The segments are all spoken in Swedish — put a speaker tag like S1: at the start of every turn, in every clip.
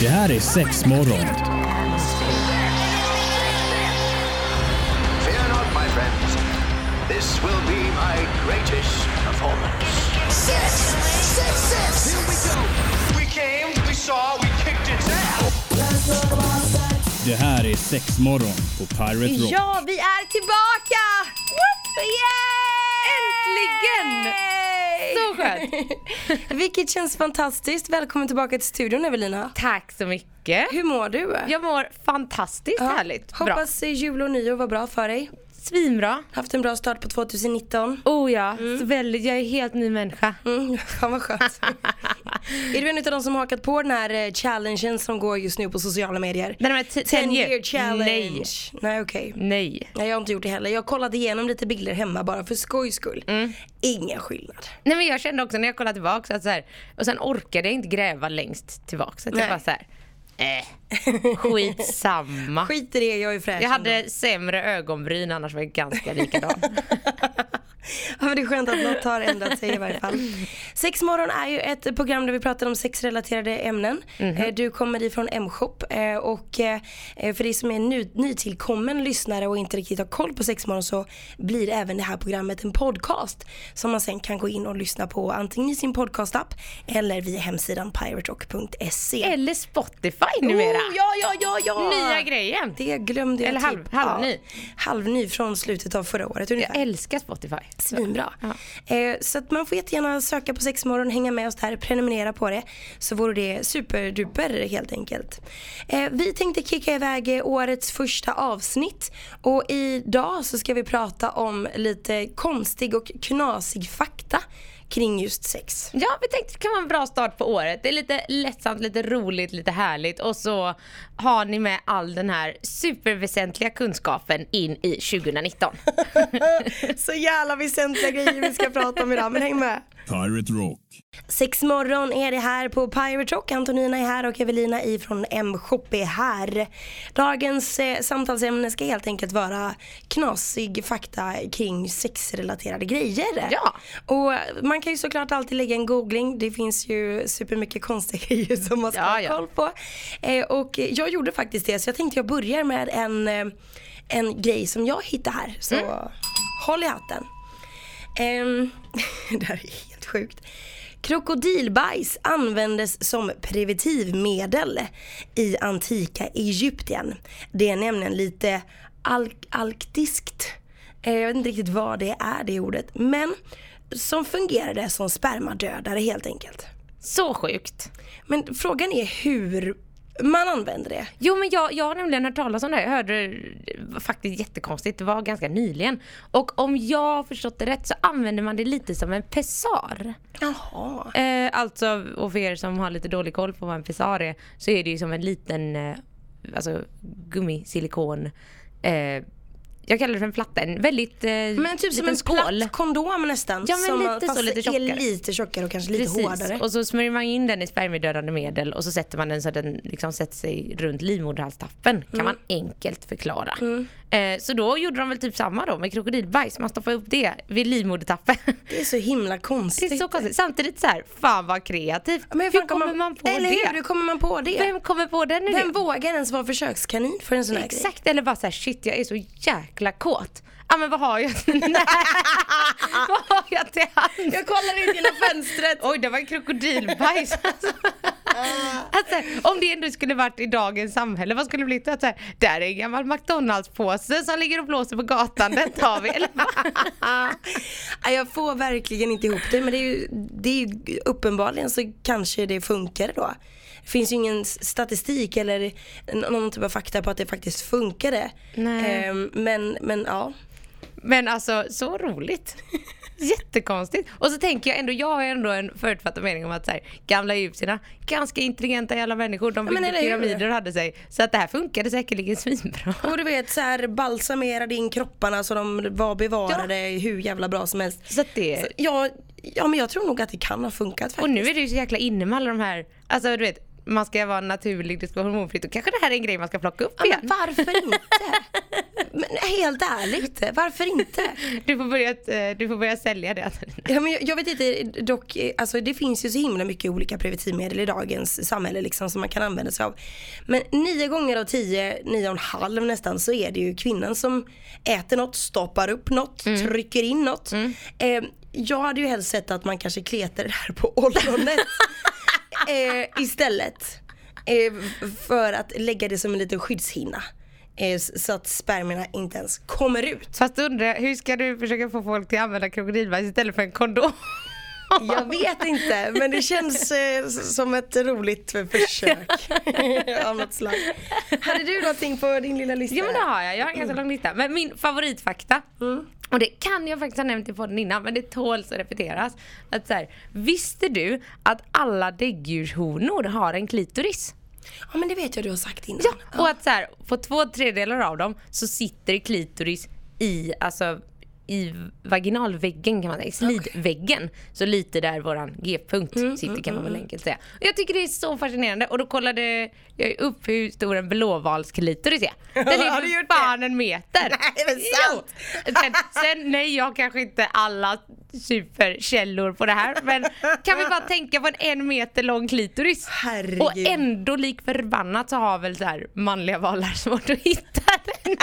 S1: Det här är sex morgon.
S2: Fear not, my friends. This will be my greatest performance.
S3: Six, six, six.
S2: Here we go. We came, we saw, we kicked its ass.
S1: Det här är sex morgon på Pirate Rock.
S4: Ja, vi är tillbaka! Woop! Äntligen!
S5: Så skönt!
S4: Vilket känns fantastiskt. Välkommen tillbaka till studion Evelina.
S5: Tack så mycket.
S4: Hur mår du?
S5: Jag mår fantastiskt
S4: Ja.
S5: härligt. Bra.
S4: Hoppas eh, jul och nyår var bra för dig.
S5: Svinbra.
S4: Haft en bra start på 2019.
S5: Oh ja, så väldigt, jag är helt ny människa.
S4: Mm, fan vad skönt. är du en av de som hakat på den här eh, challengen som går just nu på sociala medier?
S5: Den här 10 year
S4: challenge.
S5: Nej. Mm.
S4: Nej okej.
S5: Nej.
S4: Nej jag har inte gjort det heller. Jag kollade igenom lite bilder hemma bara för skojs skull.
S5: Mm.
S4: Ingen skillnad.
S5: Nej men jag kände också när jag kollade tillbaka att så här, och sen orkade jag inte gräva längst tillbaka. Så att
S4: Nej.
S5: jag bara så här, eh, skitsamma.
S4: Skit i det, jag är fräsch
S5: Jag
S4: ändå.
S5: hade sämre ögonbryn annars var jag ganska likadan.
S4: Ja, men det är skönt att något har ändrat sig i varje fall. Sexmorgon är ju ett program där vi pratar om sexrelaterade ämnen.
S5: Mhm.
S4: Eh, Du kommer ifrån M-shop eh, och eh, för dig som är ny, nytillkommen lyssnare och inte riktigt har koll på Sexmorgon så blir även det här programmet en podcast som man sen kan gå in och lyssna på antingen i sin podcastapp eller via hemsidan piraterock.se.
S5: Eller Spotify numera.
S4: Oh, ja, ja, ja, ja!
S5: Nya grejen.
S4: Det glömde jag
S5: Eller halv-
S4: typ.
S5: halvny.
S4: Ja, halvny från slutet av förra året ungefär.
S5: Jag älskar Spotify.
S4: Svinbra. Eh, så att man får jättegärna söka på Sexmorgon, hänga med oss där, prenumerera på det. Så vore det superduper helt enkelt. Eh, vi tänkte kicka iväg eh, årets första avsnitt. Och idag så ska vi prata om lite konstig och knasig fakta kring just sex.
S5: Ja, vi tänkte det kan vara en bra start på året. Det är lite lättsamt, lite roligt, lite härligt och så har ni med all den här superväsentliga kunskapen in i 2019.
S4: Så jävla väsentliga grejer vi ska prata om idag, men häng med.
S1: Pirate Rock.
S4: Sexmorgon är det här på Pirate Rock. Antonina är här och Evelina ifrån M-shop är här. Dagens eh, samtalsämne ska helt enkelt vara knasig fakta kring sexrelaterade grejer.
S5: Ja.
S4: Och man kan ju såklart alltid lägga en googling. Det finns ju supermycket konstiga grejer som man ska
S5: Ja,
S4: ha
S5: ja.
S4: koll på. Eh, och jag gjorde faktiskt det så jag tänkte jag börjar med en, eh, en grej som jag hittade här. Så
S5: Mm.
S4: håll i hatten. Ehm, det här är helt sjukt. Krokodilbajs användes som preventivmedel i antika Egypten. Det är nämligen lite alk- alktiskt. Eh, Jag vet inte riktigt vad det är det ordet. Men som fungerade som spermadödare helt enkelt.
S5: Så sjukt.
S4: Men frågan är hur man använder det.
S5: Jo men jag, jag har nämligen hört talas om det här. Jag hörde det var faktiskt jättekonstigt, det var ganska nyligen. Och om jag har förstått det rätt så använder man det lite som en pessar.
S4: Jaha.
S5: Eh, alltså, och för er som har lite dålig koll på vad en pessar är, så är det ju som en liten eh, alltså, gummisilikon. Eh, jag kallar det för en platta, en väldigt eh,
S4: Men typ som
S5: liten
S4: en
S5: skål.
S4: platt kondom nästan.
S5: Ja, men
S4: som
S5: lite
S4: fast
S5: så, lite
S4: är
S5: tjockare.
S4: lite tjockare och kanske lite hårdare.
S5: Precis. Och så smörjer man in den i spermiedödande medel och så sätter man den så att den liksom sätter sig runt livmoderhalstappen.
S4: Mm.
S5: Kan man enkelt förklara. Eh, så då gjorde de väl typ samma då med krokodilbajs. Man stoppar upp det vid livmodertappen.
S4: Det är så himla
S5: Det
S4: konstigt.
S5: är så konstigt. Samtidigt så här, fan vad kreativt.
S4: Men hur,
S5: hur
S4: fan
S5: kommer man, på
S4: eller
S5: det?
S4: Hur, hur kommer man på det? Vem,
S5: Vem kommer på den idén?
S4: vågar ens vara försökskanin för en sån här grej?
S5: Exakt, eller bara såhär shit jag är så jäkla kåt. Ja ah, men vad har jag? Nej. vad har jag till hands?
S4: Jag kollar ut genom fönstret.
S5: Oj det var en krokodilbajs. alltså, Alltså, om det ändå skulle varit i dagens samhälle, vad skulle det bli? Att så här, där är en gammal McDonalds-påse som ligger och blåser på gatan, den tar vi. Eller,
S4: Nej, Jag får verkligen inte ihop det men det är ju, det är ju uppenbarligen så kanske det funkar då. Det finns ju ingen s- statistik eller n- någon typ av fakta på att det faktiskt funkade.
S5: Nej.
S4: Ehm, men, men ja.
S5: Men alltså så roligt. Jättekonstigt. Och så tänker jag ändå, jag har ändå en förutfattad mening om att så här, gamla egyptierna, ganska intelligenta jävla människor, de
S4: men
S5: byggde
S4: eller hur?
S5: pyramider och hade sig. Så att det här funkade säkerligen svinbra.
S4: Och du vet så här balsamerade in kropparna så de var bevarade hur jävla bra som helst.
S5: Så att det...
S4: Så, ja, ja men jag tror nog att det kan ha funkat faktiskt.
S5: Och nu är det ju så jäkla inne med alla de här, alltså du vet, man ska vara naturlig, det ska vara hormonfritt. Och kanske det här är en grej man ska plocka upp
S4: Ja,
S5: igen.
S4: men varför inte? Men helt ärligt, varför inte?
S5: Du får börja, eh, du får börja sälja det. Adelina.
S4: Ja, men jag, jag vet inte, dock, eh, alltså, det finns ju så himla mycket olika preventivmedel i dagens samhälle liksom, som man kan använda sig av. Men nio gånger av tio, nio och en halv nästan, så är det ju kvinnan som äter något, stoppar upp något, trycker in något. Eh, jag hade ju helst sett att man kanske kletar det här på ollonet eh, istället. Eh, för att lägga det som en liten skyddshinna. Eh, s- så att spermierna inte ens kommer ut.
S5: Fast då undrar jag, hur ska du försöka få folk till att använda krokodilbajs istället för en kondom?
S4: Jag vet inte, men det känns eh, s- som ett roligt försök av något slag. Hade du någonting på din lilla lista?
S5: Ja men det har jag, jag har en ganska lång lista. Men min favoritfakta, och det kan jag faktiskt ha nämnt i podden innan men det tåls att repeteras. Att så här, visste du att alla däggdjurshonor har en klitoris?
S4: Ja, men det vet jag du har sagt innan.
S5: Ja, och att så här, på två tredjedelar av dem så sitter klitoris i, alltså, i vaginalväggen kan man säga, slidväggen. Så lite där våran G-punkt
S4: Mm,
S5: sitter kan man väl enkelt säga. Och jag tycker det är så fascinerande och då kollade jag upp hur stor en blåvalsklitoris är. Den
S4: Har
S5: är
S4: du
S5: för
S4: gjort
S5: fan en meter!
S4: Nej, men sant.
S5: Jo. Sen, sen, nej jag kanske inte alla superkällor på det här men kan vi bara tänka på en en meter lång klitoris?
S4: Herregud.
S5: Och ändå lik förbannat så har väl så här manliga valar svårt att hitta den.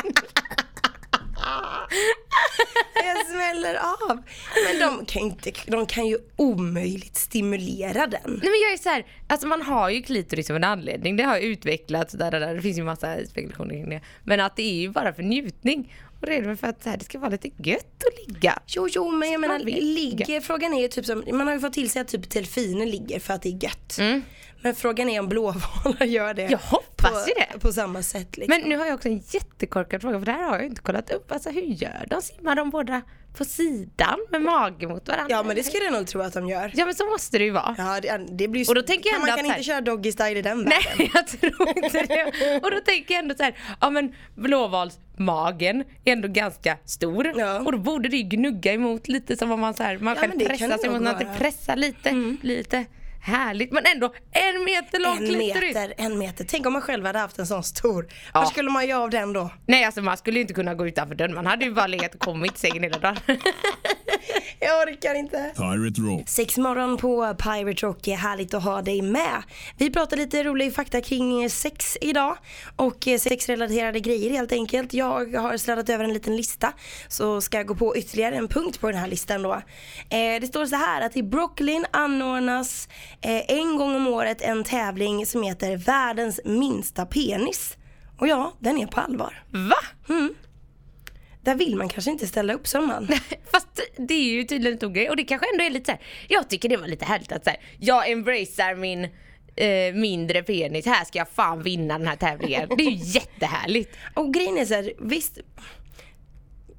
S4: Jag smäller av. Men de kan, ju inte, de kan ju omöjligt stimulera den.
S5: Nej men jag är så här, alltså man har ju klitoris av en anledning. Det har ju utvecklats där, där, där. Det finns ju massa spekulationer kring det. Men att det är ju bara för njutning. Och det är väl för att så här, det ska vara lite gött att ligga.
S4: Jo, jo, men jag menar
S5: man vill
S4: ligger. Frågan är ju typ som, man har ju fått till sig att typ delfiner ligger för att det är gött. Men frågan är om blåvalar gör det.
S5: Jag hoppas
S4: på,
S5: ju det.
S4: På samma sätt liksom.
S5: Men nu har jag också en jättekorkad fråga för det här har jag ju inte kollat upp. Alltså hur gör de? Simmar de båda på sidan med magen mot varandra?
S4: Ja, men det skulle jag nog tro att de gör.
S5: ja men så måste det ju vara.
S4: Ja, det, det blir ju-
S5: Och då tänker jag
S4: kan, man
S5: ändå
S4: kan
S5: att så här-
S4: inte köra doggy style i den världen.
S5: Nej jag tror inte det. Och då tänker jag ändå så här, ja men blåvalsmagen är ändå ganska stor.
S4: Ja.
S5: Och då borde det ju gnugga emot lite som om man så här, man
S4: Ja,
S5: själv
S4: men det kan
S5: pressar
S4: det
S5: sig
S4: nog
S5: mot att det
S4: vara. Mm.
S5: pressar lite, blir lite härligt. Men ändå en meter lång
S4: En
S5: klitoris.
S4: meter, en meter. Tänk om man själv hade haft en sån stor. Vad
S5: Ja.
S4: skulle man göra av den då?
S5: Nej alltså man skulle ju inte kunna gå utanför dörren, man hade ju bara legat och kommit i sängen hela dagen.
S4: Jag orkar inte.
S1: Pirate Rock.
S4: Sex morgon på Pirate Rock, är härligt att ha dig med. Vi pratar lite rolig fakta kring eh, sex idag och eh, sexrelaterade grejer helt enkelt. Jag har sladdat över en liten lista så ska jag gå på ytterligare en punkt på den här listan då. Eh, det står så här att i Brooklyn anordnas eh, en gång om året en tävling som heter världens minsta penis. Och ja, den är på allvar.
S5: Va?
S4: Där vill man kanske inte ställa upp som man.
S5: Fast det är ju tydligen en stor grej och det kanske ändå är lite så här. jag tycker det var lite härligt att så här, jag embracear min eh, mindre penis, här ska jag fan vinna den här tävlingen. Det är ju jättehärligt.
S4: Och grejen är så här, visst.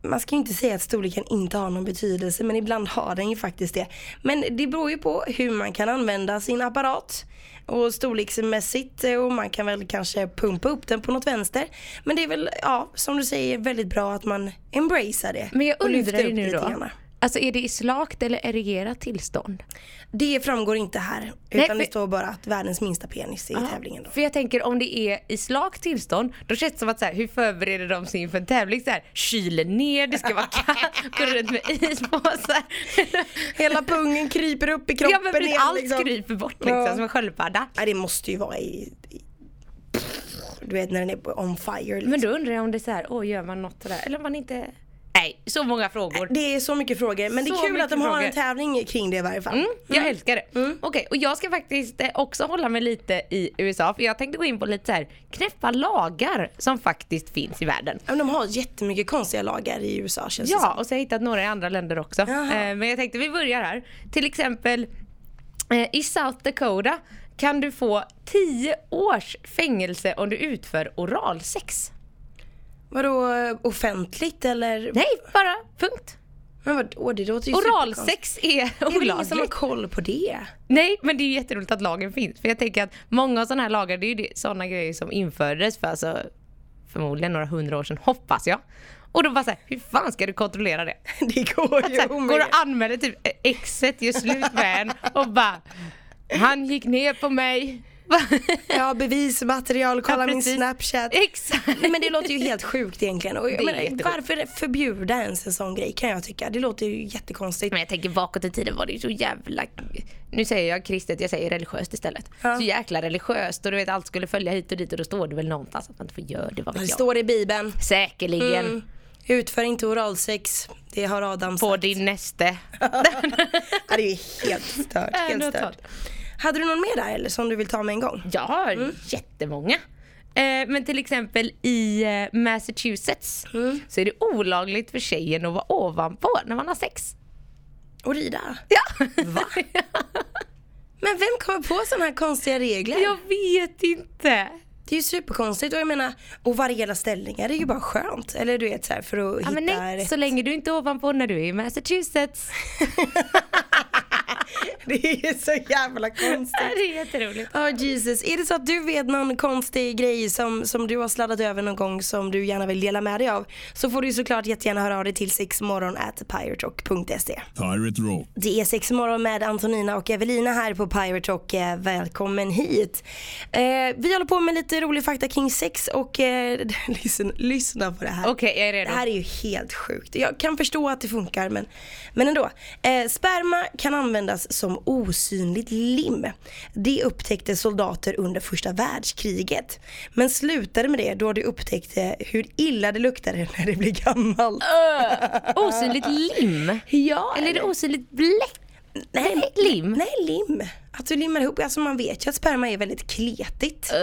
S4: Man ska ju inte säga att storleken inte har någon betydelse men ibland har den ju faktiskt det. Men det beror ju på hur man kan använda sin apparat. Och storleksmässigt eh, och man kan väl kanske pumpa upp den på något vänster. Men det är väl, ja som du säger, väldigt bra att man embracear det.
S5: Men jag
S4: och
S5: undrar
S4: lyfter
S5: ju
S4: upp
S5: nu
S4: lite
S5: då,
S4: grann.
S5: alltså är det i slakt eller erigerat tillstånd?
S4: Det framgår inte här.
S5: Nej,
S4: Utan det
S5: för- Ah.
S4: står bara att världens minsta penis är i tävlingen då.
S5: För jag tänker om det är i slakt tillstånd, då känns det som att så här, hur förbereder de sig inför en tävling? Så här, kyler ner, det ska vara kallt, går runt med ispåsar.
S4: Hela pungen kryper upp i kroppen
S5: ja, men precis,
S4: igen,
S5: allt
S4: liksom.
S5: kryper bort liksom
S4: Ja.
S5: som en sköldpadda.
S4: Nej det måste ju vara i, i du vet när den är on fire. Liksom.
S5: Men då undrar jag om det är så här, åh gör man något sådär? Eller om man inte... Nej, så många frågor.
S4: det är så mycket frågor men det
S5: Så
S4: är kul att de
S5: mycket
S4: har en
S5: frågor.
S4: tävling kring det i varje fall.
S5: Mm, jag älskar det. Okej, och jag ska faktiskt eh, också hålla mig lite i USA för jag tänkte gå in på lite så här knäppa lagar som faktiskt finns i världen.
S4: Ja, men De har jättemycket konstiga lagar i USA känns det
S5: Ja, och så har jag hittat några i andra länder också.
S4: Jaha.
S5: Eh, men jag tänkte vi börjar här. Till exempel eh, i South Dakota kan du få 10 års fängelse om du utför oralsex.
S4: som. Vadå eh, offentligt eller?
S5: Nej, bara punkt.
S4: Men vadå det låter ju superkonstigt.
S5: Oralsex är
S4: Det är väl ingen som har
S5: olagligt.
S4: koll på det?
S5: Nej, men det är ju jätteroligt att lagen finns. För jag tänker att många sådana här lagar, det är ju det- sådana grejer som infördes för alltså, förmodligen några hundra år sedan, hoppas jag. Och då bara såhär, hur fan ska du kontrollera det?
S4: Det går ju
S5: Så här, Alltså, går
S4: omöjligt.
S5: och anmäler typ exet, gör slut med en och bara, han gick ner på mig,
S4: Jag har bevismaterial, kolla
S5: Ja,
S4: min
S5: precis.
S4: snapchat.
S5: Exakt.
S4: Nej, men det låter ju helt sjukt egentligen. Och jag
S5: Det är
S4: menar,
S5: jättesjukt.
S4: varför förbjuda ens en sån grej kan jag tycka. Det låter ju jättekonstigt.
S5: Men jag tänker bakåt i tiden var det ju så jävla, nu säger jag kristet, jag säger religiöst istället. Så jäkla religiöst och du vet allt skulle följa hit och dit och då står det väl någonstans att man inte får göra det, vad
S4: Det
S5: vet jag.
S4: står i bibeln.
S5: Säkerligen
S4: Mm. Utför inte oralsex. Det har Adam
S5: på
S4: sagt.
S5: din näste.
S4: Ja, det är ju helt stört.
S5: Ja,
S4: Helt
S5: det var
S4: stört.
S5: klart.
S4: Hade du någon mer där eller som du vill ta med en gång?
S5: Jag har jättemånga. Eh, Men till exempel i eh, Massachusetts så är det olagligt för tjejen att vara ovanpå när man har sex.
S4: Och rida?
S5: Ja.
S4: Va? Men vem kommer på sådana här konstiga regler?
S5: Jag vet inte.
S4: Det är ju superkonstigt och jag menar, och variera ställningar det är ju bara skönt. Eller du vet så här för att
S5: Ja,
S4: hitta
S5: men nej,
S4: rätt.
S5: så länge du inte är ovanpå när du är i Massachusetts.
S4: Det är ju så jävla konstigt.
S5: det är jätteroligt.
S4: Ja Jesus, är det så att du vet någon konstig grej som, som du har sladdat över någon gång som du gärna vill dela med dig av så får du ju såklart jättegärna höra av dig till sexmorgon.piratrock.se
S1: Pirate Rock.
S4: Det är sexmorgon med Antonina och Evelina här på Pirate Rock. Eh, Välkommen hit. Eh, vi håller på med lite rolig fakta kring sex och eh, lyssna, lyssna på det här.
S5: Okej, jag är
S4: Det
S5: redo.
S4: här är ju helt sjukt. Jag kan förstå att det funkar men, men ändå. Eh, sperma kan användas som osynligt lim. Det upptäckte soldater under första världskriget. Men slutade med det då de upptäckte hur illa det luktade när det blev gammalt.
S5: Osynligt lim.
S4: Ja,
S5: Eller är det osynligt bläck?
S4: Nej,
S5: Lim?
S4: Nej, lim. Att du limmar ihop. Alltså man vet ju att sperma är väldigt kletigt.
S5: Äh.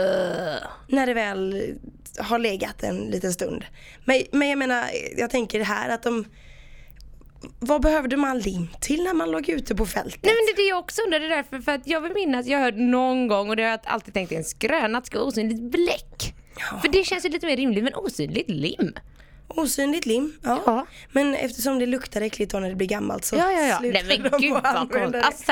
S4: När det väl har legat en liten stund. Men, men jag menar, jag tänker här att de... Vad behövde man lim till när man låg ute på fältet?
S5: Nej men det är det jag också undrar, det är därför för att jag vill minnas, jag har hört någon gång och det har jag alltid tänkt är en skröna att det ska vara osynligt bläck. För det känns ju lite mer rimligt men osynligt lim.
S4: Osynligt lim, ja.
S5: Ja.
S4: Men eftersom det luktar äckligt då när det blir gammalt så
S5: Ja, ja, ja.
S4: slutar
S5: Nej, men
S4: de
S5: gud,
S4: att
S5: vad
S4: använda
S5: konstigt. Alltså,
S4: det.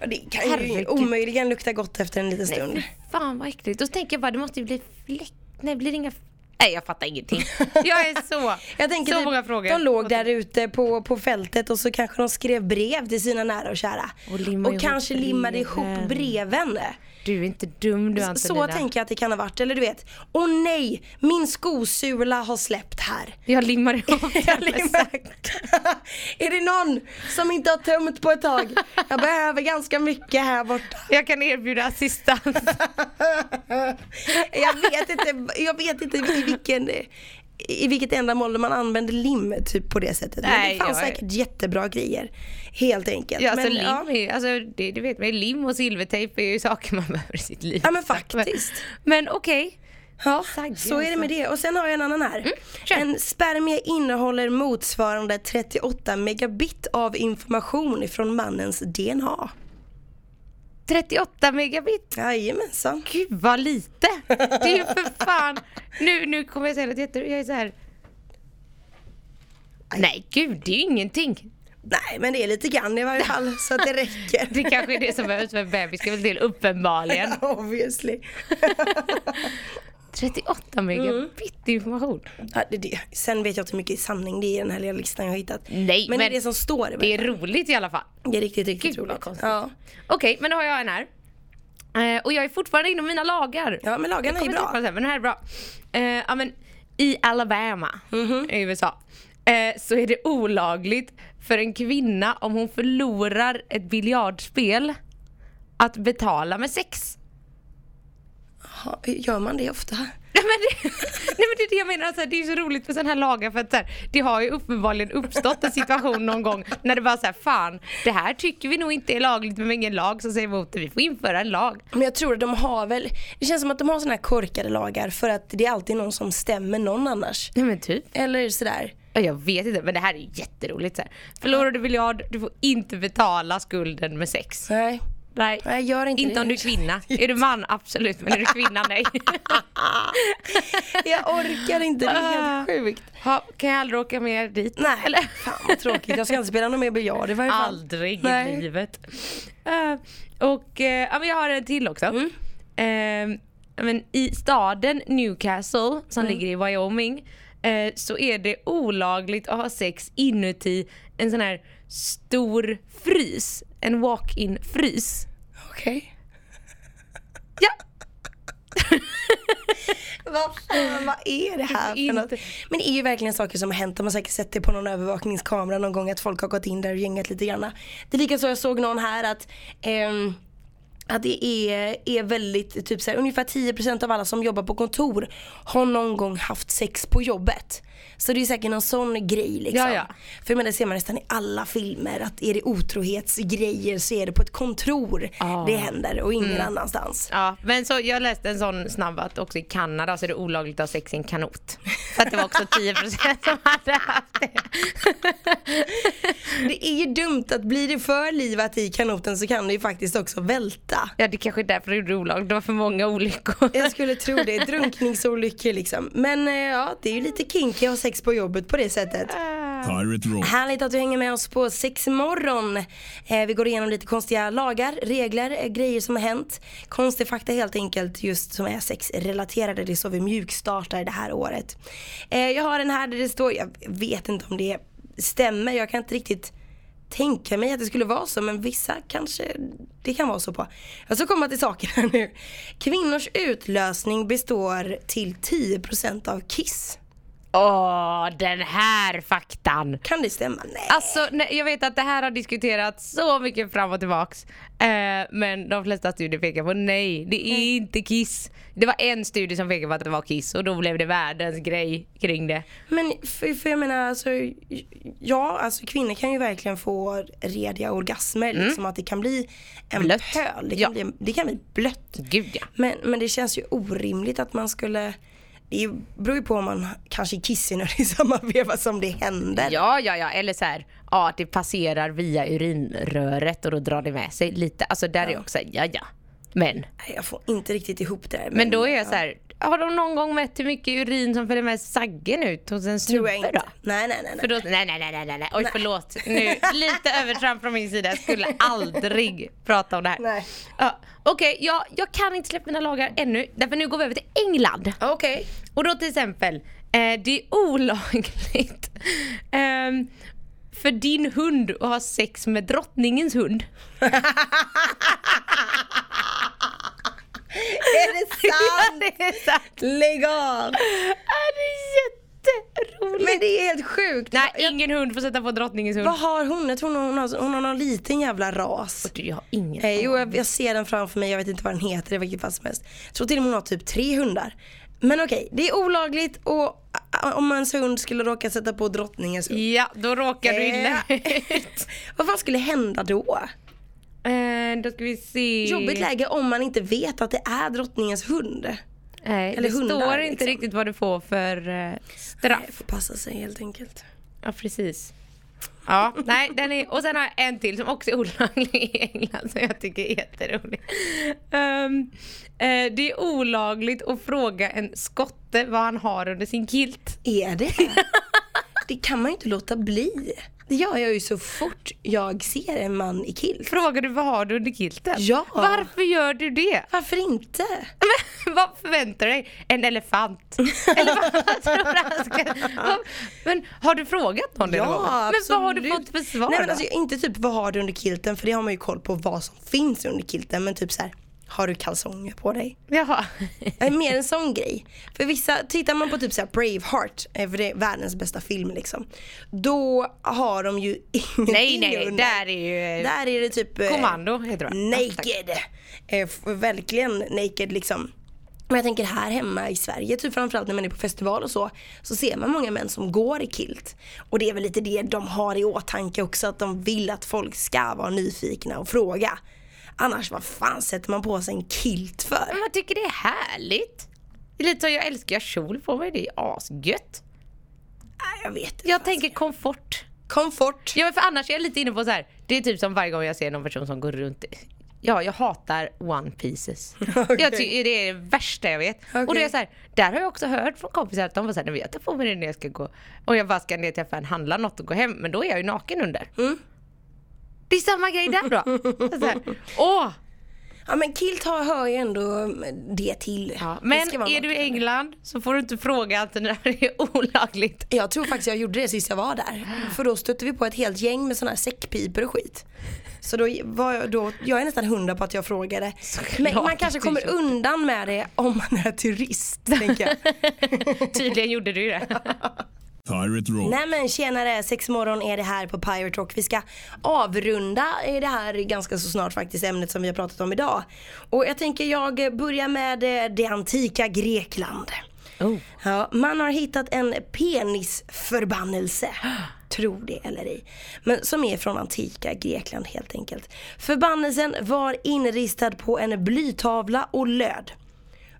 S4: Ja, det kan ju
S5: herregud.
S4: omöjligen lukta gott efter en liten stund.
S5: Fy fan vad äckligt. Och så tänker jag bara det måste ju bli fläck, nej blir det inga Nej jag fattar ingenting. Jag är så,
S4: Jag tänker
S5: så
S4: typ,
S5: många frågor.
S4: de låg där ute på, på fältet och så kanske de skrev brev till sina nära och kära.
S5: Och limmade ihop
S4: kanske limmade ihop
S5: breven.
S4: breven.
S5: Du är inte dum du
S4: Så
S5: Antonina.
S4: tänker jag att det kan ha varit. Eller du vet, åh nej, min skosula har släppt här.
S5: Jag limmar ihop
S4: Jag
S5: den med
S4: limmar.
S5: sax.
S4: är det någon som inte har tömt på ett tag? Jag behöver ganska mycket här borta.
S5: Jag kan erbjuda assistans.
S4: Jag vet inte, jag vet inte i, vilken, i vilket ändamål man använder lim typ på det sättet.
S5: Nej,
S4: Men det fanns
S5: jag är-
S4: säkert jättebra grejer. Helt enkelt.
S5: Ja, alltså,
S4: Men,
S5: lim,
S4: ja.
S5: är ju- alltså, det, du vet, med lim och silvertejp är ju saker man behöver i sitt liv.
S4: Ja, men faktiskt.
S5: Men, men okej.
S4: Ja,
S5: Sagg,
S4: så är det med det. Och sen har jag en annan här.
S5: Mm, kör.
S4: en spermie innehåller motsvarande 38 megabit av information från mannens DNA.
S5: 38 megabit.
S4: Jajamensan.
S5: Gud vad lite. Det är ju för fan. Nu, nu kommer jag säga något jätte... Jag är så här. Nej gud, det är ju ingenting.
S4: Nej, men det är lite grann i varje fall så att det räcker.
S5: Det kanske är det som behövs för en bebis, ska väl till uppenbarligen.
S4: Obviously.
S5: 38 megabit
S4: Mm.
S5: information.
S4: Ja, det, det. Sen vet jag inte hur mycket sanning det är i den här lilla listan jag har hittat.
S5: Nej, men
S4: men, det är det som står i
S5: Det
S4: det.
S5: är roligt i alla fall.
S4: Det är riktigt, riktigt
S5: Gud, vad
S4: roligt.
S5: konstigt.
S4: Ja.
S5: Okej, men då har jag en här. Eh, och jag är fortfarande inom mina lagar.
S4: ja, men lagarna är
S5: kommer
S4: bra.
S5: tillbaka sen, men det här är bra. Eh, ja, men I Alabama
S4: Mhm.
S5: i USA eh, så är det olagligt för en kvinna om hon förlorar ett biljardspel att betala med sex.
S4: Ja, Gör man det ofta?
S5: Nej men, det, nej men det är det jag menar, alltså, det är ju så roligt med sådana här lagar för att så här, det har ju uppenbarligen uppstått en situation någon gång när det bara såhär, fan det här tycker vi nog inte är lagligt men vi har ingen lag som säger emot det, vi får införa en lag.
S4: Men jag tror att de har väl, det känns som att de har sådana här korkade lagar för att det är alltid någon som stämmer någon annars.
S5: Nej men typ.
S4: Eller sådär.
S5: Ja, Jag vet inte, men det här är ju jätteroligt. Så här. Förlorar du biljard, du får inte betala skulden med sex.
S4: Nej.
S5: Nej,
S4: Nej, gör inte det.
S5: om du är kvinna. Är du man, absolut. Men är du kvinna, nej.
S4: Jag orkar inte, det är
S5: Ah,
S4: helt sjukt.
S5: Ha, kan jag aldrig åka med dit?
S4: Nej, fan vad tråkigt. Jag ska inte spela någon mer biljard i varje fall.
S5: Aldrig
S4: Nej.
S5: i livet. Eh, och eh, ja, men jag har en till också. Eh, ja, men I staden Newcastle som ligger i Wyoming eh, så är det olagligt att ha sex inuti en sån här stor frys. En walk-in frys.
S4: Okej.
S5: Ja,
S4: vad fan, vad är det här för något? Men det är ju verkligen saker som har hänt. De har säkert sett det på någon övervakningskamera någon gång att folk har gått in där och gängat lite grann. Det är likaså jag såg någon här att ehm, att det är, är väldigt, typ så här, ungefär 10% av alla som jobbar på kontor har någon gång haft sex på jobbet. Så det är säkert någon sån grej liksom.
S5: Ja, ja.
S4: För jag menar, det ser man nästan i alla filmer att är det otrohetsgrejer så är det på ett kontor
S5: Ah.
S4: det händer och ingen annanstans.
S5: Ja, men så jag läste en sån snabb att också i Kanada så är det olagligt att ha sex i en kanot. Så att det var också 10% som hade haft det.
S4: Det är ju dumt att blir det för livat i kanoten så kan det ju faktiskt också välta.
S5: Ja, det kanske är därför det är olagligt. Det var för många olyckor.
S4: Jag skulle tro det, drunkningsolyckor liksom. Men eh, ja, det är ju lite kinky att ha sex på jobbet på det sättet.
S1: Pirate Rock.
S4: Härligt att du hänger med oss på Sexmorgon. Eh, vi går igenom lite konstiga lagar, regler, eh, grejer som har hänt. Konstig fakta helt enkelt just som är sexrelaterade. Det är så vi mjukstartar det här året. Eh, jag har en här där det står, jag vet inte om det stämmer, jag kan inte riktigt tänka mig att det skulle vara så men vissa kanske det kan vara så på. Jag ska komma till saken här nu. Kvinnors utlösning består till 10% av kiss.
S5: Åh, den här faktan!
S4: Kan det stämma? Nej.
S5: Alltså, nej, jag vet att det här har diskuterats så mycket fram och tillbaks. Eh, men de flesta studier pekar på nej, det är inte kiss. Det var en studie som pekade på att det var kiss och då blev det världens grej kring det.
S4: Men för, för jag menar alltså, ja alltså kvinnor kan ju verkligen få rediga orgasmer liksom att det kan bli en
S5: Mm. Blött.
S4: pöl. Det kan,
S5: Ja.
S4: bli, det kan bli blött.
S5: Gud ja.
S4: Men, men det känns ju orimligt att man skulle, det är ju- beror ju på om man kanske är kissnödig i samma veva som det händer.
S5: Ja, ja, ja. Eller så här, ja, att det passerar via urinröret och då drar det med sig lite. Alltså där är jag också, här, ja, ja. Men,
S4: Nej, Jag får inte riktigt ihop det där.
S5: men då är jag så här, har de någon gång mätt hur mycket urin som följer med saggen ut hos en
S4: tror jag
S5: snubbe
S4: inte.
S5: då?
S4: Nej nej nej.
S5: För
S4: nej.
S5: då, nej, nej, nej, nej, nej, nej. oj förlåt. Nu, lite övertramp från min sida. Jag skulle aldrig prata om det här.
S4: Nej.
S5: Ja, Okej, jag, jag kan inte släppa mina lagar ännu. Därför nu går vi över till England.
S4: Okej.
S5: Och då till exempel, eh, det är olagligt ehm, för din hund att ha sex med drottningens hund.
S4: Är det sant?
S5: det är sant.
S4: Lägg av!
S5: Ah, det är jätteroligt.
S4: Men det är helt sjukt.
S5: Nej, ingen hund får sätta på drottningens hund.
S4: Vad har hon? Jag tror hon har, hon har någon liten jävla ras.
S5: Du, jag har ingen
S4: Eh, jo, jag, jag ser den framför mig. Jag vet inte vad den heter i vilket fall som helst. Jag tror till och med hon har typ tre hundar. Men okej, det är olagligt och ä, om ens hund skulle råka sätta på drottningens hund.
S5: Ja, då råkar du illa
S4: Eh.
S5: ut.
S4: Vad fan skulle hända då?
S5: Eh, då ska vi se.
S4: Jobbigt läge om man inte vet att det är drottningens hund.
S5: Nej,
S4: Eller
S5: Eh, det
S4: hundar,
S5: står inte
S4: liksom.
S5: riktigt vad du får för eh,
S4: Nej,
S5: straff.
S4: får passa sig helt enkelt.
S5: Ja, precis. Ja, nej, den är, och sen har jag en till som också är olaglig i England som jag tycker är jätterolig. Ehm, eh, det är olagligt att fråga en skotte vad han har under sin kilt.
S4: Är det? det kan man ju inte låta bli. Det gör jag ju så fort jag ser en man i kilt.
S5: Frågar du vad har du under kilten?
S4: Ja.
S5: Varför gör du det?
S4: Varför inte?
S5: Men, vad förväntar du dig? En elefant? Eller vad vad tror du han ska... vad- Men har du frågat någon det någon gång? Men vad har du
S4: absolut.
S5: fått för svar
S4: Nej, men
S5: då?
S4: alltså, Inte typ vad har du under kilten för det har man ju koll på vad som finns under kilten men typ så här har du kalsonger på dig?
S5: Jaha.
S4: Äh, Mer en sån grej. För vissa, tittar man på typ så här Braveheart, eh, för det är världens bästa film liksom. Då har de ju ingenting
S5: Nej, nej,
S4: under.
S5: där är ju... eh,
S4: Där är det typ eh,
S5: Kommando heter det.
S4: naked. Eh, f- verkligen naked liksom. Men jag tänker här hemma i Sverige, typ framförallt när man är på festival och så, så ser man många män som går i kilt. Och det är väl lite det de har i åtanke också, att de vill att folk ska vara nyfikna och fråga. Annars vad fan sätter man på sig en kilt för?
S5: Men man tycker det är härligt. Det är lite så jag älskar jag har kjol på mig, det är asgött.
S4: Nej, Jag vet inte.
S5: Jag tänker komfort.
S4: Komfort.
S5: Ja men för annars är jag lite inne på så här. det är typ som varje gång jag ser någon person som går runt Ja, jag hatar one pieces. Jag tycker det är det värsta jag vet. Och då är
S4: Okej.
S5: jag så här, där har jag också hört från kompisar att de var såhär, nej men jag tar på mig det när jag ska gå. Och jag bara ska ner till affären, handla något och gå hem, men då är jag ju naken under.
S4: Mm.
S5: Det är samma grej där då. Så här, Åh!
S4: Ja men kilt har, hör ju ändå mm, det till.
S5: Ja,
S4: Det
S5: men
S4: ska vara
S5: är du i
S4: något.
S5: England så får du inte fråga att det där är olagligt.
S4: Jag tror faktiskt jag gjorde det sist jag var där. För då stötte vi på ett helt gäng med såna här säckpipor och skit. Så då var jag, då, jag är nästan hundra på att jag frågade.
S5: Såklart
S4: Men man
S5: att
S4: kanske
S5: du
S4: kommer
S5: gjorde.
S4: undan med det om man är turist, tänker jag.
S5: Tydligen gjorde du ju det.
S1: Pirate Rock.
S4: Nej men tjenare, sex morgon är det här på Pirate Rock. Vi ska avrunda eh, det här ganska så snart faktiskt, ämnet som vi har pratat om idag. Och jag tänker jag eh, börjar med eh, det antika Grekland.
S5: Oh.
S4: Ja, man har hittat en penisförbannelse. Tro det eller ej. Men som är från antika Grekland helt enkelt. Förbannelsen var inristad på en blytavla och löd.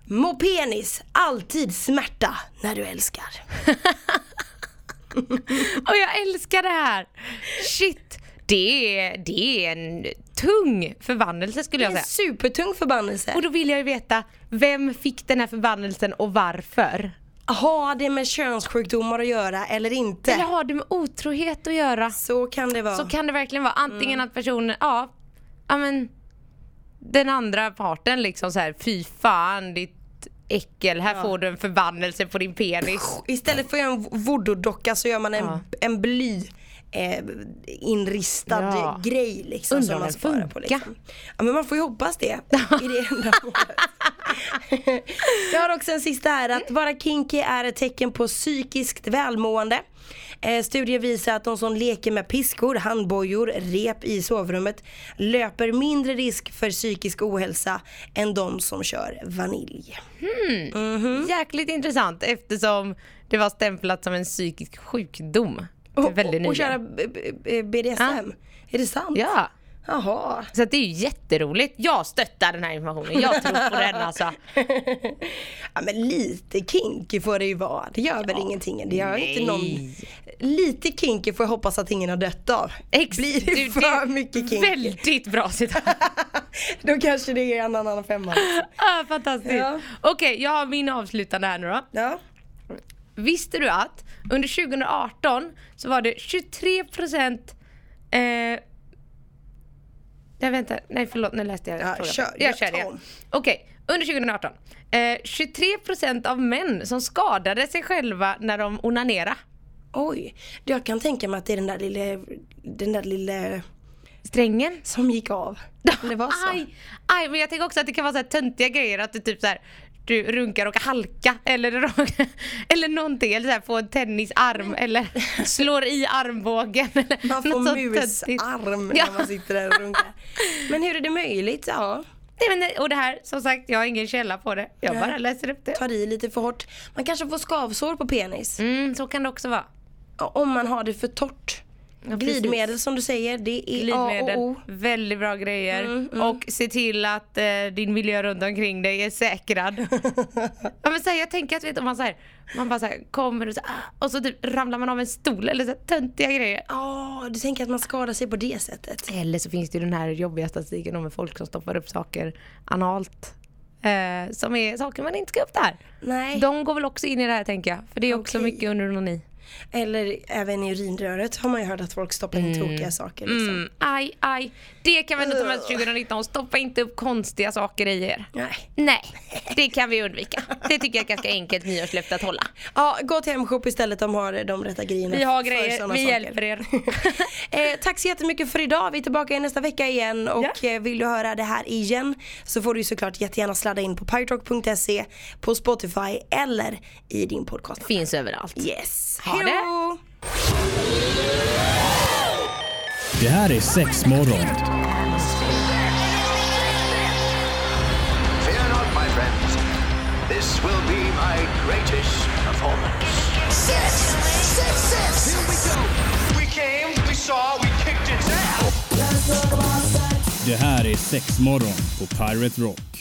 S4: Må penis alltid smärta när du älskar.
S5: Och jag älskar det här! Shit! Det är, det är en tung förvandelse skulle jag
S4: Det är en
S5: säga.
S4: supertung förbannelse.
S5: Och då vill jag ju veta, vem fick den här förbannelsen och varför?
S4: Har det med könssjukdomar att göra eller inte?
S5: Eller har det med otrohet att göra?
S4: Så kan det vara.
S5: Så kan det verkligen vara. Antingen
S4: Mm.
S5: att personen, ja, ja men den andra parten liksom så här, fy fan ditt äckel, här får du en förbannelse på din penis.
S4: Istället för att göra en voodoo-docka så gör man en,
S5: Ja.
S4: en bly eh, inristad
S5: Ja.
S4: grej liksom.
S5: Undrar
S4: som
S5: om
S4: man
S5: den
S4: sparar
S5: funkar.
S4: på liksom. Ja men man får ju hoppas det. I det ändamålet. Jag har också en sista här att vara kinky är ett tecken på psykiskt välmående. Eh, studier visar att de som leker med piskor, handbojor, rep i sovrummet löper mindre risk för psykisk ohälsa än de som kör vanilj. Mm.
S5: Jäkligt intressant eftersom det var stämplat som en psykisk sjukdom.
S4: Och,
S5: väldigt
S4: och, och
S5: nyligen.
S4: köra b- b- b- BDSM? Är det sant?
S5: Ja.
S4: Jaha.
S5: Så att det är ju jätteroligt. Jag stöttar den här informationen. Jag tror på den alltså.
S4: Ja, men lite kinky får det ju vara. Det gör väl ingenting. Det gör inte någon... Lite kinky får jag hoppas att ingen har dött av.
S5: Ex-
S4: Blir det
S5: du,
S4: för
S5: är
S4: mycket kinky?
S5: Väldigt bra citat.
S4: Då kanske det är en annan femma. liksom.
S5: ah, fantastiskt.
S4: Ja.
S5: Okej, jag har min avslutande här nu då.
S4: Ja.
S5: Visste du att under 2018 så var det 23 procent eh, Nej vänta, nej förlåt nu läste jag
S4: Ja,
S5: frågan.
S4: kör.
S5: Jag
S4: Ja,
S5: kör
S4: ta
S5: det.
S4: om.
S5: Okej, under 2018. Eh, 23% av män som skadade sig själva när de onanerade.
S4: Oj. Jag kan tänka mig att det är den där lille... Den där lille...
S5: Strängen.
S4: Som gick av. Det var så.
S5: Aj, aj, men jag tänker också att det kan vara så här töntiga grejer att du typ så här, du runkar och halka eller, råkar- eller någonting eller så här, får en tennisarm eller slår i armbågen. Eller
S4: Man
S5: något
S4: får
S5: sånt töntigt.
S4: musarm
S5: Ja.
S4: när man sitter där och runkar. Men hur är det möjligt? Ja.
S5: Nej, men, det- och det här, som sagt, jag har ingen källa på det. Jag bara läser upp det.
S4: Tar i lite för hårt. Man kanske får skavsår på penis.
S5: Mm, så kan det också vara.
S4: om man har det för torrt.
S5: Ja, precis.
S4: Glidmedel som du säger, det är A
S5: Glidmedel,
S4: och O. Mm,
S5: väldigt bra grejer. Och se till att eh, din miljö runt omkring dig är säkrad. ja, men så här, jag tänker att vet, du, om man, så här, man bara så här, kommer och så, ah, och så typ ramlar man av en stol eller så här, töntiga grejer.
S4: Ja, du tänker att man skadar sig på det sättet.
S5: Eller så finns det ju den här jobbiga statistiken om folk som stoppar upp saker analt. Eh, som är saker man inte ska upp där.
S4: Nej.
S5: De går väl också in i det här tänker jag. För det är också
S4: Okej.
S5: mycket under onani.
S4: Eller även i urinröret har man ju hört att folk stoppar in tokiga saker. Liksom.
S5: Mm, aj, aj. Det kan vi ändå ta med oss 2019. Stoppa inte upp konstiga saker i er.
S4: Nej.
S5: Nej, det kan vi undvika. Det tycker jag är ett ganska enkelt nyårslöfte att hålla.
S4: Ja, gå till Hemshop istället, de har eh, de rätta grejerna.
S5: Vi har
S4: för
S5: grejer,
S4: såna
S5: vi
S4: saker.
S5: hjälper er.
S4: eh, tack så jättemycket för idag. Vi är tillbaka i nästa vecka igen och eh, vill du höra det här igen så får du ju såklart jättegärna sladda in på pyrotalk.se, på Spotify eller i din podcast.
S5: Finns överallt.
S4: Yes.
S5: Ha det.
S4: Hejdå!
S1: Det här är sex morgon.
S2: Fear not, my friends. This will be my greatest performance.
S3: Six, six, six. Here we go.
S2: We came, we saw, we kicked its ass.
S1: Det här är sex morgon på Pirate Rock.